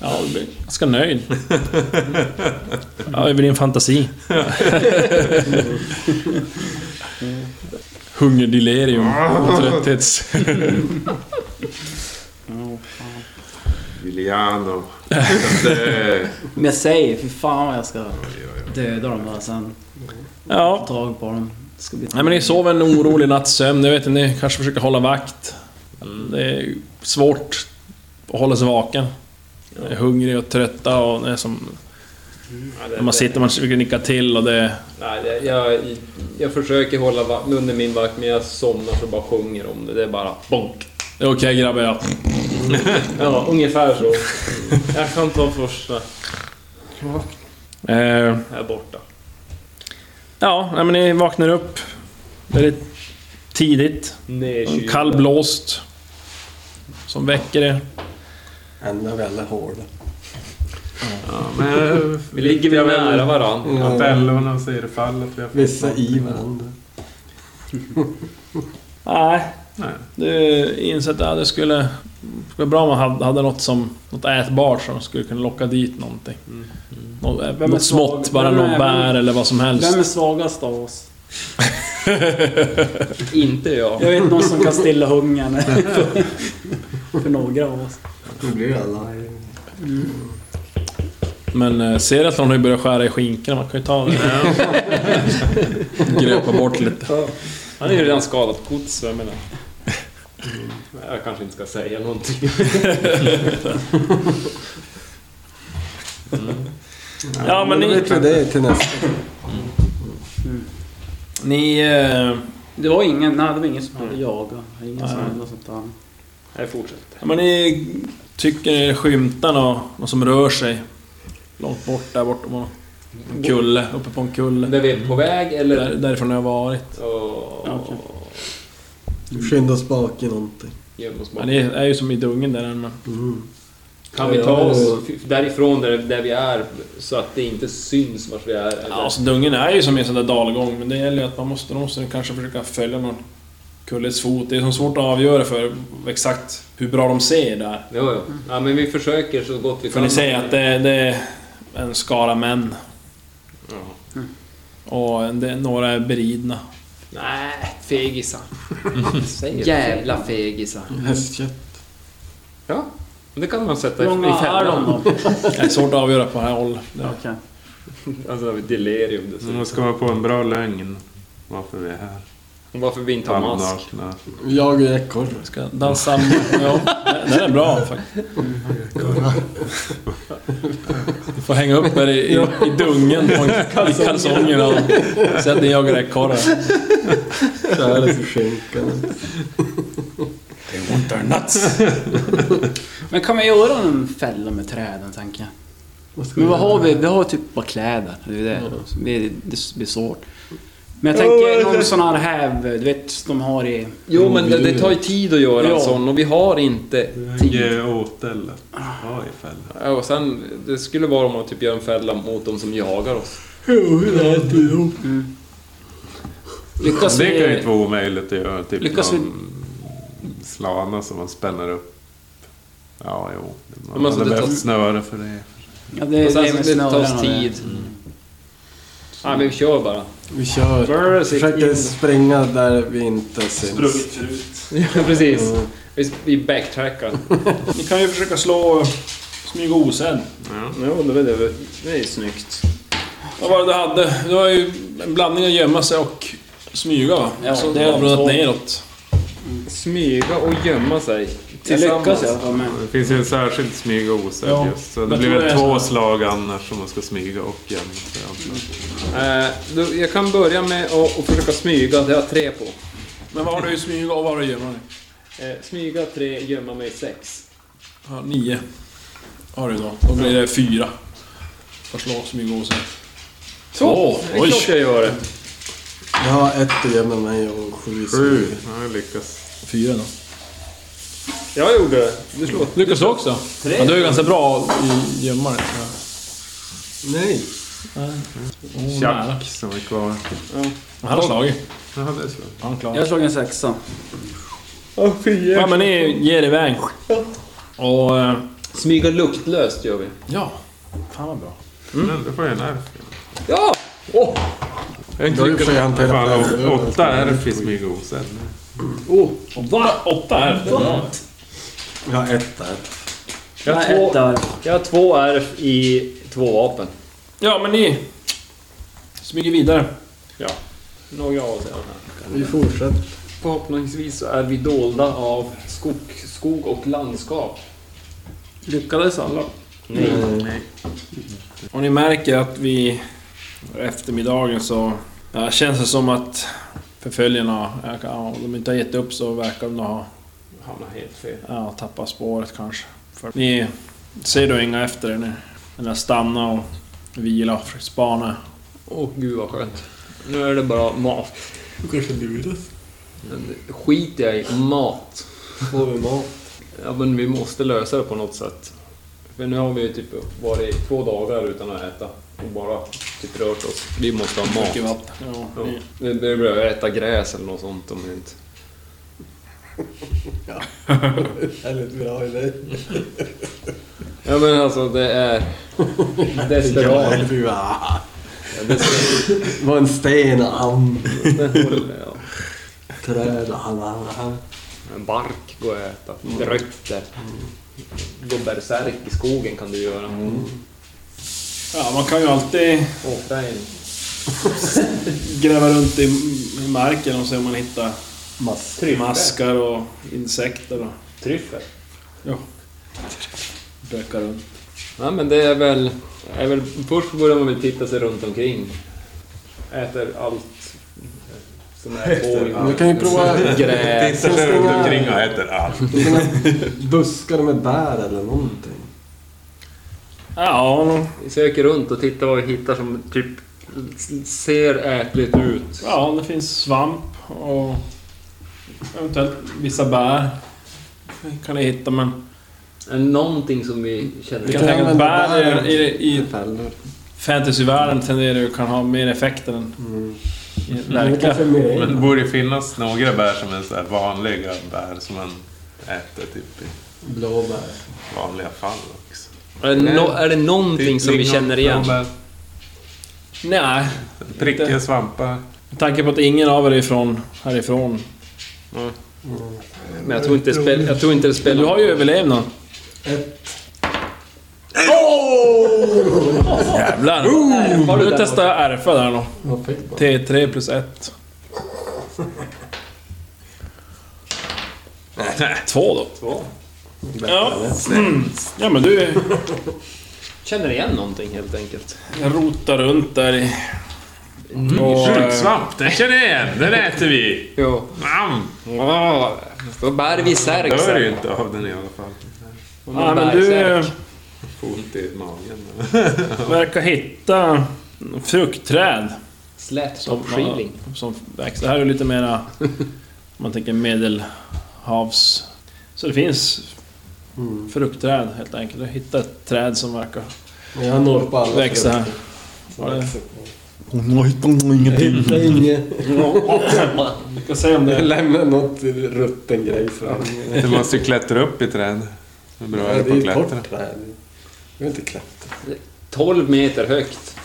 C: Ja, du blir ganska nöjd. Ja, det blir en fantasi. Hungerdelirium och trötthets...
G: [laughs] Giuliano. Det-
E: Men jag säger, fy fan vad jag ska döda dem där sen. Få
C: Ja.
E: tag på dem. Det ska bli
C: Nej, men ni sov en orolig natts sömn. Jag vet inte, ni kanske försöker hålla vakt. Det är svårt att hålla sig vaken. Ni är hungriga och trötta och det är som...
F: Ja, det-
C: När man sitter man försöker nicka till och det...
F: Nej, det- jag, jag försöker hålla va- under min vakt men jag somnar så bara sjunger om det. Det är bara bonk.
C: Det är Okej grabbar, jag...
F: Ja, ungefär så. Jag kan ta första
C: Eh,
F: här borta.
C: ja, nej, men ni vaknar upp väldigt tidigt.
F: Nerkyld.
C: Kall blåst. Som väcker er.
D: Ändå väldigt hård.
G: Ja, men
F: Vi ligger väl nära varandra.
G: Att älvorna ser fallet. Vi har fått
D: Vissa
G: något.
D: i varandra.
C: Nej.
G: Nej.
C: Du insett att det skulle... Det skulle vara bra om man hade- hade något som... Något ätbart som skulle kunna locka dit någonting. eh, Något,
E: är
C: Mm, något
E: svag?
C: smått, bara
E: Vem är-
C: någon bär eller vad som helst.
E: Vem är svagast av
C: [laughs]
E: oss?
F: Inte jag.
E: Jag vet någon som kan stilla hungern. [laughs] För några av oss.
D: Då blir det alive.
C: Mm. Men eh, ser att någon har börjat skära i skinkorna, man kan ju ta det. [laughs] Gröpa bort lite.
F: Han är ju redan skadat gods, jag menar. Jag kanske inte ska säga någonting.
C: Ja, men
D: Då
C: ni...
D: vet vi det till nästa.
C: Ni... eh,
E: Det var ingen, nej det var ingen som hade jagat. Ingen som hade något sånt där.
F: Jag fortsätter.
C: Ja, men ni tycker ni skymtar något, något som rör sig. Långt bort där borta på en kulle, uppe på en kulle.
F: Där vi är på väg
C: Där,
F: eller?
C: därifrån har jag varit.
F: Åh,
E: Okej.
D: Skynda oss bak i någonting.
F: gömma oss
C: Ja,
F: bakom.
C: ni är ju som i dungen där än men...
D: Mm.
F: Kan vi ta oss f- därifrån där, där vi är så att det inte syns vart vi är? Eller?
C: Ja, alltså dungen är ju som i en sån där dalgång men det gäller ju att man måste, då måste ni kanske försöka följa någon kulles fot. Det är som svårt att avgöra för exakt hur bra de ser där.
F: Jo, jo. Ja, men vi försöker så gott vi
C: För
F: kan.
C: ni säger att det, det är en skara män. Och en, det, några är beridna.
F: Nej, fegisar.
C: Mm.
F: [laughs] Jävla fegisar.
D: Hästkött.
F: Ja, men det kan man sätta
E: Hur
F: i
E: många
F: i
E: är de
F: fällan.
E: då?
C: Det är svårt att avgöra på det här hållet. Det-
E: Okej.
F: Alltså, vi delirium dessutom.
G: Mm, Man ska vara på en bra lögn. Varför vi är här.
C: Mm.
F: Varför vi inte har mask.
G: Halvnakna.
D: Jag och ekorre.
C: Ska dansa... Ja, den är bra faktiskt. Du får hänga upp er i, i, i dungen på en, i kalsongerna och säga att ni jagar ekorrar.
D: Kärlek för skinkan.
E: Men kan man göra en fälla med träden tänker jag?
D: Vad ska
E: Men
D: vi
E: vad
D: göra?
E: har vi? Vi har typ bara kläder. Det är det. Så Det det blir svårt. Men jag tänker någon sån här häv, du vet de har i...
F: Jo, men det, det tar ju tid att göra
E: Ja.
F: en sån och vi har inte tid.
G: Ge åtellet. Ja, i fällan.
F: Ja, och sen, det skulle vara om man typ gör en fälla mot de som jagar oss.
E: Lyckas
G: Det kan ju
E: vi...
G: inte vara omöjligt att göra. Typ
E: Lyckas
G: någon slana som man spänner upp Ja, jo. Man
F: Men alltså,
G: hade
F: det
G: behövt
F: tar-
G: snöre för det.
E: Ja, det är
F: Och sen
C: alltså,
E: det med
F: så det
E: snören
F: tar
E: och det. Mm.
F: tid. Nej, men vi kör bara.
D: Vi kör.
F: Verse
D: Försöker
F: in.
D: spränga där vi inte syns.
F: Ja, [laughs] precis. Vi, vi backtrackar.
C: Ni kan ju försöka slå smyga osedd.
F: Ja, det, var det, det är snyggt.
C: Vad var det du hade? Det var ju en blandning av gömma sig och smyga va?
E: Ja,
C: så
E: det
C: det
E: är
C: har brunnit
E: så.
C: neråt.
F: Smyga och gömma sig.
E: Jag lyckas i alla fall med.
G: Det finns ju en särskild smyg och osedd
C: Ja,
G: just. Så det
C: jag
G: blir
C: tror
G: väl
C: det är
G: två
C: så.
G: slag annars som man ska smyga och jämna sig. antar jag.
F: Eh, då, jag kan börja med att, att försöka smyga. Det har jag tre på.
C: Men vad har du i smyga och vad har du i gömma dig?
F: Eh, smyga tre, gömma mig sex.
C: Ja, nio. Har du då. Då blir det fyra. Får slå smyga och osedd.
F: Så!
C: Åh,
F: det är
C: oj.
F: klart jag gör det.
D: Jag har ett att gömma mig och sju i
G: Sju.
D: smyg.
G: Ja, jag lyckas.
C: Fyra då.
F: Jag gjorde det. Du slår.
C: Lyckas du också? Ja, du är ganska bra i gömma dig.
D: Nej.
C: Oh, nära.
G: Tjack som är kvar.
C: Han har slagit.
G: Ja, det är slag.
C: Han klarar.
E: Jag slog en sexa.
C: Ja men ni ger iväg. Och... eh,
F: Smyga luktlöst gör vi.
C: Ja. Fan vad bra.
G: Men då får jag en ärf.
F: Ja! Åh!
D: Då har ju för sig
G: Fan,
D: hanterat det.
G: åtta ärf i smyg och osedd.
C: Va? Åtta här.
D: Jag har ett där.
F: Jag har,
E: Nej, ett
F: två,
E: där.
F: jag har två ärf i två vapen.
C: Ja men ni... Smyger vidare.
F: Några av oss är här.
D: Vi fortsätter.
F: Förhoppningsvis så är vi dolda av skog, skog och landskap.
E: Lyckades alla?
C: Och ni märker att vi... Eftermiddagen så... Ja, känns det som att förföljarna... ja, Om de inte har gett upp så verkar de ha
F: Hamnar helt fel.
C: ja, tappat spåret kanske. För ni ser då inga efter er nu. Eller stanna och vila, försöka spana.
F: Åh gud vad skönt. Nu är det bara mat. Du kanske luras? Skit jag i mat.
D: Får vi mat?
F: Ja men vi måste lösa det på något sätt. För nu har vi ju typ varit i två dagar utan att äta. Och bara typ rört oss. Vi måste ha mat.
C: Mycket vatten. Ja,
F: Ja.
C: ni-
F: Vi behöver äta gräs eller något sånt om vi inte...
D: Väldigt bra idé.
F: Ja men alltså det är...
D: [laughs] Ja,
F: Desperat.
D: du ah. Var en sten och han.
F: Det håller, ja.
D: Träd och han, han, han.
F: En bark går att äta. Rötter.
D: Mm.
F: Gå berserk i skogen kan du göra.
C: ja, man kan ju alltid
F: Åka in.
C: gräva runt i, i marken och se om man hittar
D: Mass.
C: maskar och insekter och
F: Tryffel.
C: röka runt.
F: Nej men det är väl... Är väl först borde man väl titta sig runt omkring. Äter allt som är på.
D: Du kan ju prova
F: Gräs.
G: Tittar sig runt omkring och äter allt.
D: såna buskar med bär eller någonting.
C: Ja,
F: Vi söker runt och tittar vad vi hittar som typ ser ätligt ut.
C: ja, det finns svamp och eventuellt vissa bär. Kan ni hitta men...
F: Är det Någonting som vi känner
C: Jag
F: igen.
C: kan tänka mig att bär i, i,
D: I
C: i
D: fällor.
C: fantasyvärlden tenderar ju att kan ha mer effekt än
F: Mm.
C: i det
D: Men det kanske
C: verkliga.
D: är mer
G: Men det borde ju finnas några bär som är så här vanliga bär som man äter typ i
D: blåbär.
G: vanliga fall också.
F: Är det, no, är det någonting som vi känner igen?
C: Nej,
G: Prickiga eh, svampar.
C: med tanke på att ingen av er är ifrån, härifrån.
F: Men jag tror inte det spel- jag tror inte det
C: Du
F: spelar...
C: har ju överlevnad. Oh! Jävlar! Har du testat ärfa där då?
D: Man fick bara.
C: T3 plus 1. Två då. Ja. ja men du
F: Känner igen någonting helt enkelt.
C: rotar runt där i... Och, eh,
G: Skjutsvamp, den känner jag igen! Den äter vi!
F: Jo.
G: Mam!
F: Ja, Då bär vi särk.
G: Dör
F: sen.
G: ju inte av den i alla fall.
C: ja, men du eh,
G: Får ont i magen.
C: verkar hitta frukträd.
F: Slät som
C: Som,
F: skilling.
C: som växer. Det här är lite mera... om man tänker medelhavs... Så det finns
D: Mm.
C: fruktträd helt enkelt. Du hittar ett träd som verkar
D: Men jag når på alla
C: växa här.
D: frukter.
C: Ja,
D: Jag hittar inget.
C: Vi ska se om det
D: Jag lämnar något rutten grej fram.
G: Du måste ju klättra upp i träd. Hur bra
D: Ja,
G: är
D: det
G: du på
D: är
G: att
D: ju
G: klättra?
D: torrt träd. Jag vill inte klättra.
E: 12 meter högt.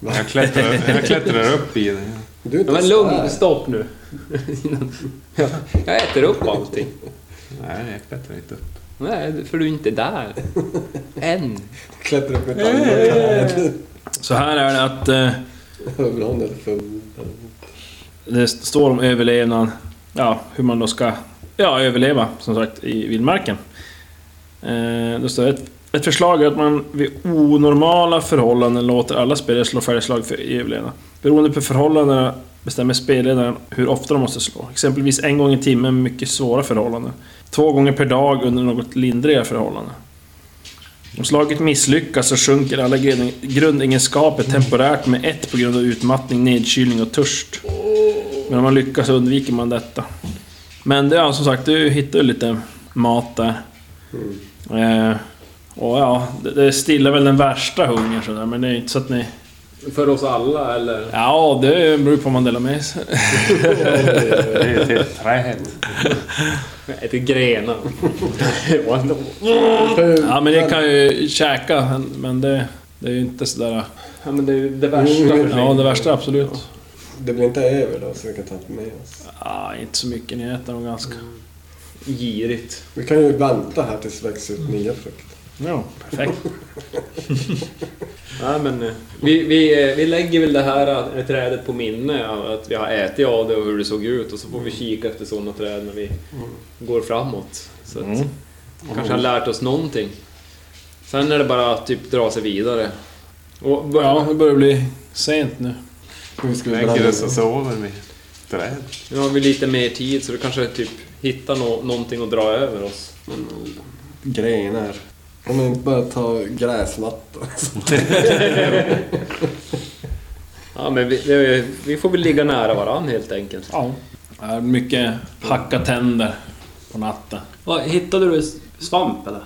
G: Jag klättrar, jag klättrar upp i det.
D: Du är inte
E: Ja, men
D: ens
E: lugn,
D: där.
E: stopp nu. jag, jag äter upp allting.
G: Nej, jag klättrar inte upp.
E: Nej, för du är inte där. Än.
D: Klättra upp ett annat [laughs] träd.
C: Så här är det att... Eh,
D: Över honom eller full.
C: Det står om överlevnad, ja, hur man då ska ja, överleva som sagt i vildmarken. Eh, då står det, ett, ett förslag är att man vid onormala förhållanden låter alla spelare slå färre slag för överlevnad. Beroende på förhållandena bestämmer spelledaren hur ofta de måste slå. Exempelvis en gång i timmen med mycket svåra förhållanden. Två gånger per dag under något lindrigare förhållanden. Om slaget misslyckas så sjunker alla grund- grundegenskaper temporärt med ett på grund av utmattning, nedkylning och törst. Men om man lyckas så undviker man detta. Men det, ja, som sagt, du hittar ju lite mat där.
F: Mm.
C: Eh, och ja, det, det stillar väl den värsta hungern sådär, men det är ju inte så att ni...
F: För oss alla eller?
C: Ja, det beror på om man delar med sig.
G: Det är till ett träd.
F: Jag äter grenar.
C: Ja, men ni kan ju käka, men det, det är ju inte sådär...
F: ja, men det är ju det värsta.
C: Ja, det värsta absolut.
D: Det blir inte över då så vi kan ta med oss.
C: Ja, inte så mycket, ni äter nog ganska...
F: Girigt.
D: Vi kan ju vänta här tills det växer ut nya frukter.
C: Ja, perfekt.
F: Nej, men eh, vi, vi, eh, vi lägger väl det här eh, trädet på minne av att vi har ätit av det och hur det såg ut och så får vi kika efter sådana träd när vi går framåt. Så att,
E: Mm.
F: kanske har lärt oss någonting. Sen är det bara att typ dra sig vidare. Och börja,
C: Ja, det börjar bli sent nu.
D: Hur ska vi
G: Lägger
D: blanda
G: det så
D: det?
G: sover vi. Träd.
F: Nu har vi lite mer tid så du kanske typ hittar nå- någonting att dra över oss.
D: Grenar. Om vi inte bara tar gräsmattan.
F: Ja, men vi, det- vi får väl ligga nära varandra helt enkelt.
C: Ja. Det är mycket hacka tänder på natten.
E: Vad, hittade du s- svamp eller?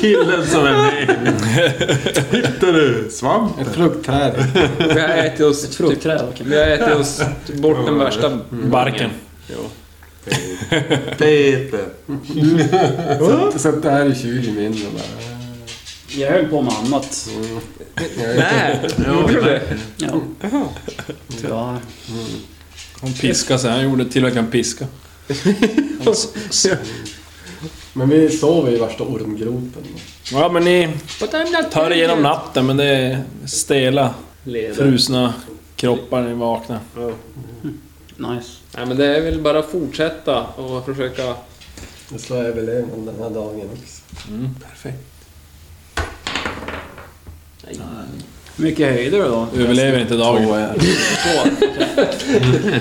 G: Killen som är med. [laughs] Hittar du svamp?
D: Ett fruktträd.
F: Vi har ätit oss, typ,
E: Fruktträd? okej.
F: vi har ätit oss bort den värsta
C: Barken.
G: Peter.
D: Så- Sätt det här i 20 min och bara...
E: Jag höll på med annat.
F: Nej! Gjorde du det?
E: Ja. Tyvärr.
C: Hon piskade sig. Han gjorde till och med en piska.
D: Men vi sover i värsta ormgropen.
C: Ja, men ni tar er igenom natten, men det är stela,
F: Leder.
C: frusna kroppar när ni vaknar.
E: Nice.
F: Nej men det är väl bara att fortsätta och försöka...
D: Det slår överlevnad den här dagen också.
E: Hur mycket höjde du då?
C: Du överlever inte dagen.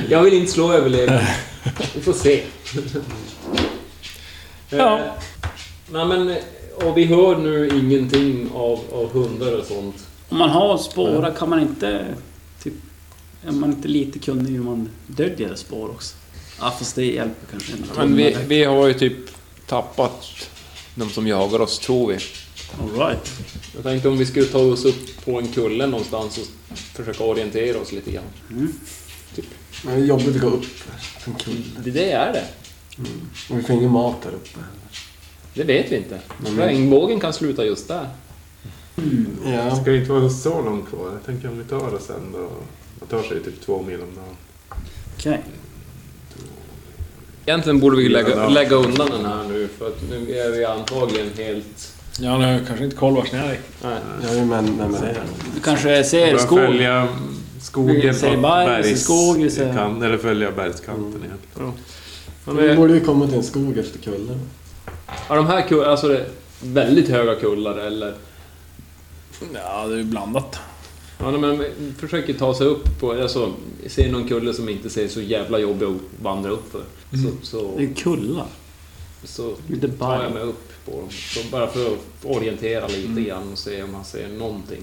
F: Jag vill inte slå överlevnad. Vi får se.
C: Ja.
F: Eh, Nej men, och vi hör nu ingenting av, av hundar och sånt.
E: Om man har spåra kan man inte... Typ, är man inte lite kunnig hur man döljer spår också? Ja, fast det hjälper kanske inte.
F: Men vi, vi har ju typ tappat de som jagar oss, tror vi.
E: Alright.
F: Jag tänkte om vi skulle ta oss upp på en kulle någonstans och försöka orientera oss lite grann.
D: Men det är jobbigt att gå upp för en kulle.
F: Det, det är det.
D: Och vi får ingen mat där uppe.
F: Det vet vi inte. Regnbågen kan sluta just där.
D: Ja.
G: Det ska ju inte vara så långt kvar. Jag tänker om vi tar oss sen då. Man tar sig typ två mil om dagen.
E: Okej.
F: Egentligen borde vi
G: Ja,
F: lägga,
G: ja.
F: lägga undan den här nu för att nu är vi antagligen helt...
C: Ja, nu har jag kanske inte koll vart ni är.
D: Jag är ju män nej, men det. är-
E: Du kanske ser
G: Bara
E: skog?
G: följa
E: Vi
G: skogen
E: ser
G: på
E: berg, vi ser skog, vi ser-
G: bergskanten. Eller följa bergskanten igen.
F: Ja,
D: Vi
F: men,
D: borde ju komma till en skog efter kullen.
F: har de här kullar, alltså det är väldigt höga kullar eller?
C: Ja, det är ju blandat.
F: Ja, men vi försöker ta sig upp på, alltså se någon kulle som inte ser så jävla jobbig att vandra upp för. Så,
E: Det
F: så,
E: är kullar.
F: så
E: Lite
F: tar jag
E: berg.
F: mig upp på dem. Så bara för att orientera lite grann och se om man ser någonting.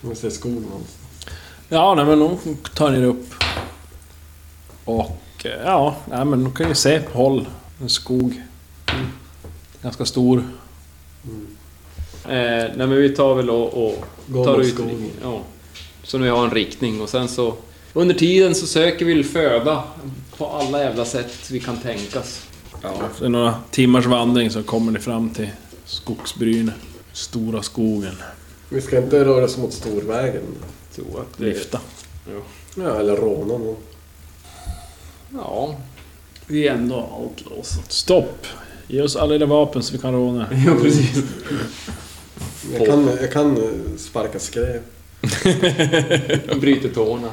D: Vi ser skog någonstans.
C: Ja, nej, men de tar er upp. Och eh, ja, nej, men de kan ju se på håll. En skog. Ganska stor.
F: Eh, nej men vi tar väl och, och
D: Gå
F: tar
D: mot
F: ut...
D: skogen.
F: Ja. Så nu har en riktning och sen så... Under tiden så söker vi föda på alla jävla sätt vi kan tänkas.
C: Ja. Efter några timmars vandring så kommer ni fram till skogsbrynet. Stora skogen.
D: Vi ska inte röra oss mot storvägen.
F: tror att det...
C: Lyfta.
D: Ja, eller råna någon.
F: Ja.
E: Vi är ändå outlaws.
C: Stopp! Ge oss alla era vapen så vi kan råna er.
F: Ja, precis.
D: Jag kan, jag kan eh, sparka skräp.
F: Bryter tårna.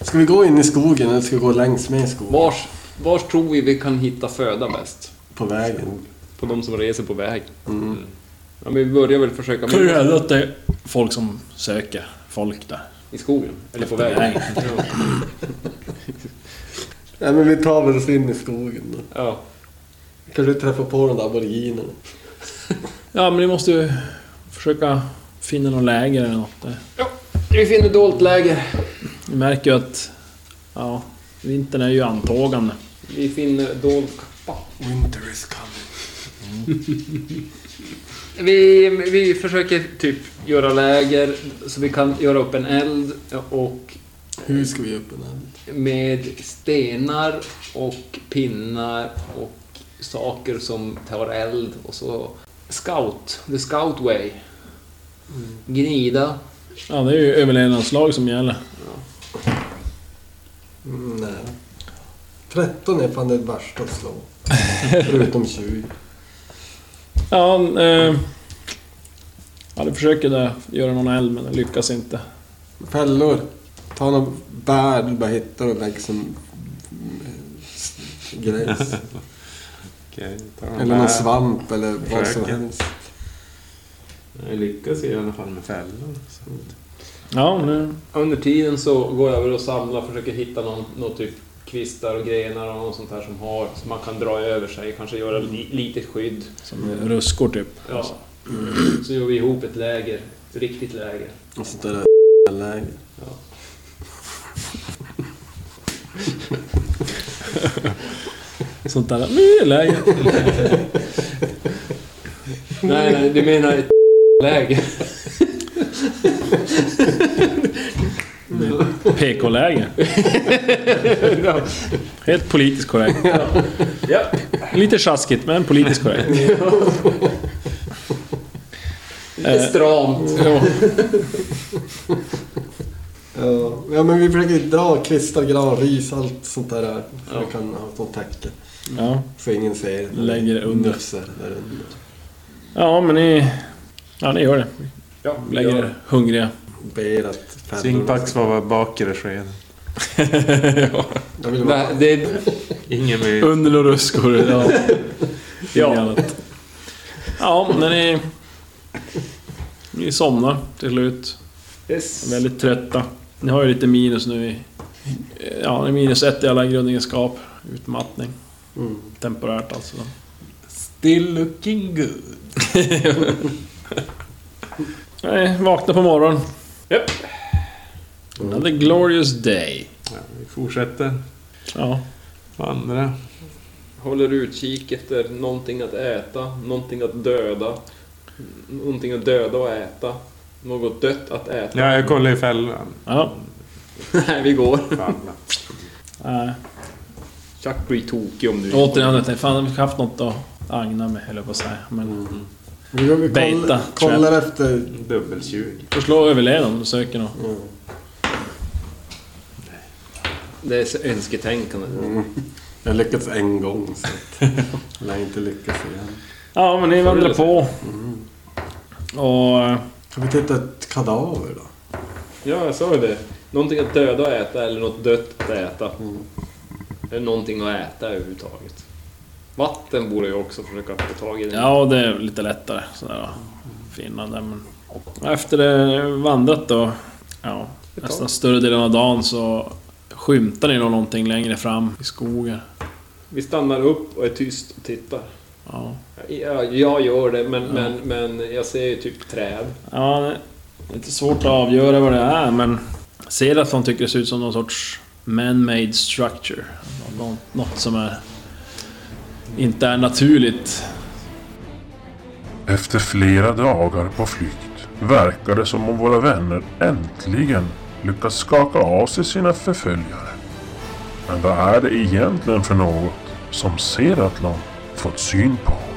D: Ska vi gå in i skogen eller ska vi gå längs med skogen?
F: Vars, vars tror vi vi kan hitta föda bäst?
D: På vägen.
F: På de som reser på väg. Ja, men vi börjar väl försöka...
C: Kan du hävda att det är folk som söker folk där?
F: I skogen? Eller på vägen?
C: Nej.
D: Nej men vi tar väl oss in i skogen då.
F: Ja.
D: Kanske vi träffar på de där aboriginerna.
C: Ja, men ni måste ju försöka finna någon läger eller något där.
F: Vi finner dolt läge.
C: Ni märker ju att... Ja, vintern är ju antågande.
F: Vi finner dolt kappa.
D: Winter is coming.
F: Vi, vi försöker typ göra läger så vi kan göra upp en eld och
D: Hur ska vi öppna den?
F: med stenar och pinnar och saker som tar eld och så scout, the scout way. Mm. Gnida.
C: Ja, det är ju överlevnadslag som gäller.
D: Mm, nej. 13 är fan det värsta att
F: [laughs]
D: slå. Förutom 20.
C: Ja, eh, ja, du försöker där göra någon eld men det lyckas inte.
D: Fällor. Ta några bär du bara hittar och lägg som eh, s-
F: [laughs]
D: grejs.
G: Okej, ta de
D: Eller någon
G: här.
D: svamp eller vad som
G: Fröken.
D: helst.
G: Jag lyckas i alla fall med fällor. Så.
C: Ja, nu...
F: Under tiden så går jag över och samlar, försöker hitta någon, någon typ kvistar och grenar och något sånt här som har, som man kan dra över sig, kanske göra li, lite skydd.
C: Som ruskor typ.
F: Mm. Ja. Så gör vi ihop ett läger, ett riktigt läger.
D: Och sånt [laughs] där läge.
C: Sånt där... Nu är läger.
F: Nej, nej, du menar ett läger.
C: PK-läger. Helt politiskt korrekt.
F: Ja.
C: Lite tjaskigt, men politiskt korrekt. Eh,
F: Lite stramt.
D: Ja, ja, men vi försöker dra kvistar, gran, ris, allt sånt där. här. Så vi kan ha som täcke.
C: Ja.
D: Så ingen ser.
C: Lägger det under.
D: Nufsar där under.
C: ja, men ni... Ja, ni gör det.
F: Ja,
C: Lägger er hungriga.
D: Ber att fällor...
G: Zingpax var bara bakre skeden.
D: Jag vill vara...
F: Nej, det,
G: Ingen med...
C: Under och ruskor. Ja.
F: Ja.
C: ja. ja, när ni... Ni somnar till slut.
F: yes.
C: Väldigt trötta. Ni har ju lite minus nu i... Ja, ni är minus ett i alla grundegenskaper. Utmattning.
D: Mm.
C: Temporärt alltså.
G: Still looking good.
C: Nej, vakna på morgonen. Japp. Another glorious day.
G: Ja, vi fortsätter
C: Ja.
G: vandra.
F: Håller utkik efter någonting att äta, någonting att döda, någonting att döda och äta, något dött att äta.
G: Ja, jag kollar i fällan.
C: Ja.
F: [laughs] Nej, vi går.
G: Falla.
C: Äh,
F: Chuck blir tokig om du
C: återigen, jag tänkte, fan vi har haft något att agna med, höll jag på att säga. Men
D: Vi går- vi koll-
C: Beta,
D: kollar efter...
G: Dubbeltjugo.
C: får slå överleva om du söker något.
D: Mm.
F: Det är så önsketänkande.
D: Jag har lyckats en gång så att... [laughs] jag lär inte lyckas igen.
C: Ja, men ni vandrar på. Mm. Och... eh,
D: Kan vi titta ett kadaver då?
F: Ja, jag sa ju det. Någonting att döda och äta eller något dött att äta. Eller någonting att äta överhuvudtaget. Vatten borde jag också försöka få tag i.
C: Ja, det är lite lättare sådär att finna det. Men efter det vandrat då, ja, nästan större delen av dagen så skymtar ni då någonting längre fram i skogen.
F: Vi stannar upp och är tyst och tittar.
C: Ja.
F: Ja, jag gör det, men, men, men jag ser ju typ träd.
C: Ja, det är lite svårt att avgöra vad det är, men... Ser att de tycker det ser ut som någon sorts man-made structure. Nå- Något som är... Inte är naturligt.
A: Efter flera dagar på flykt verkar det som om våra vänner äntligen lyckats skaka av sig sina förföljare. Men vad är det egentligen för något? som ser Atlon fått syn på honom.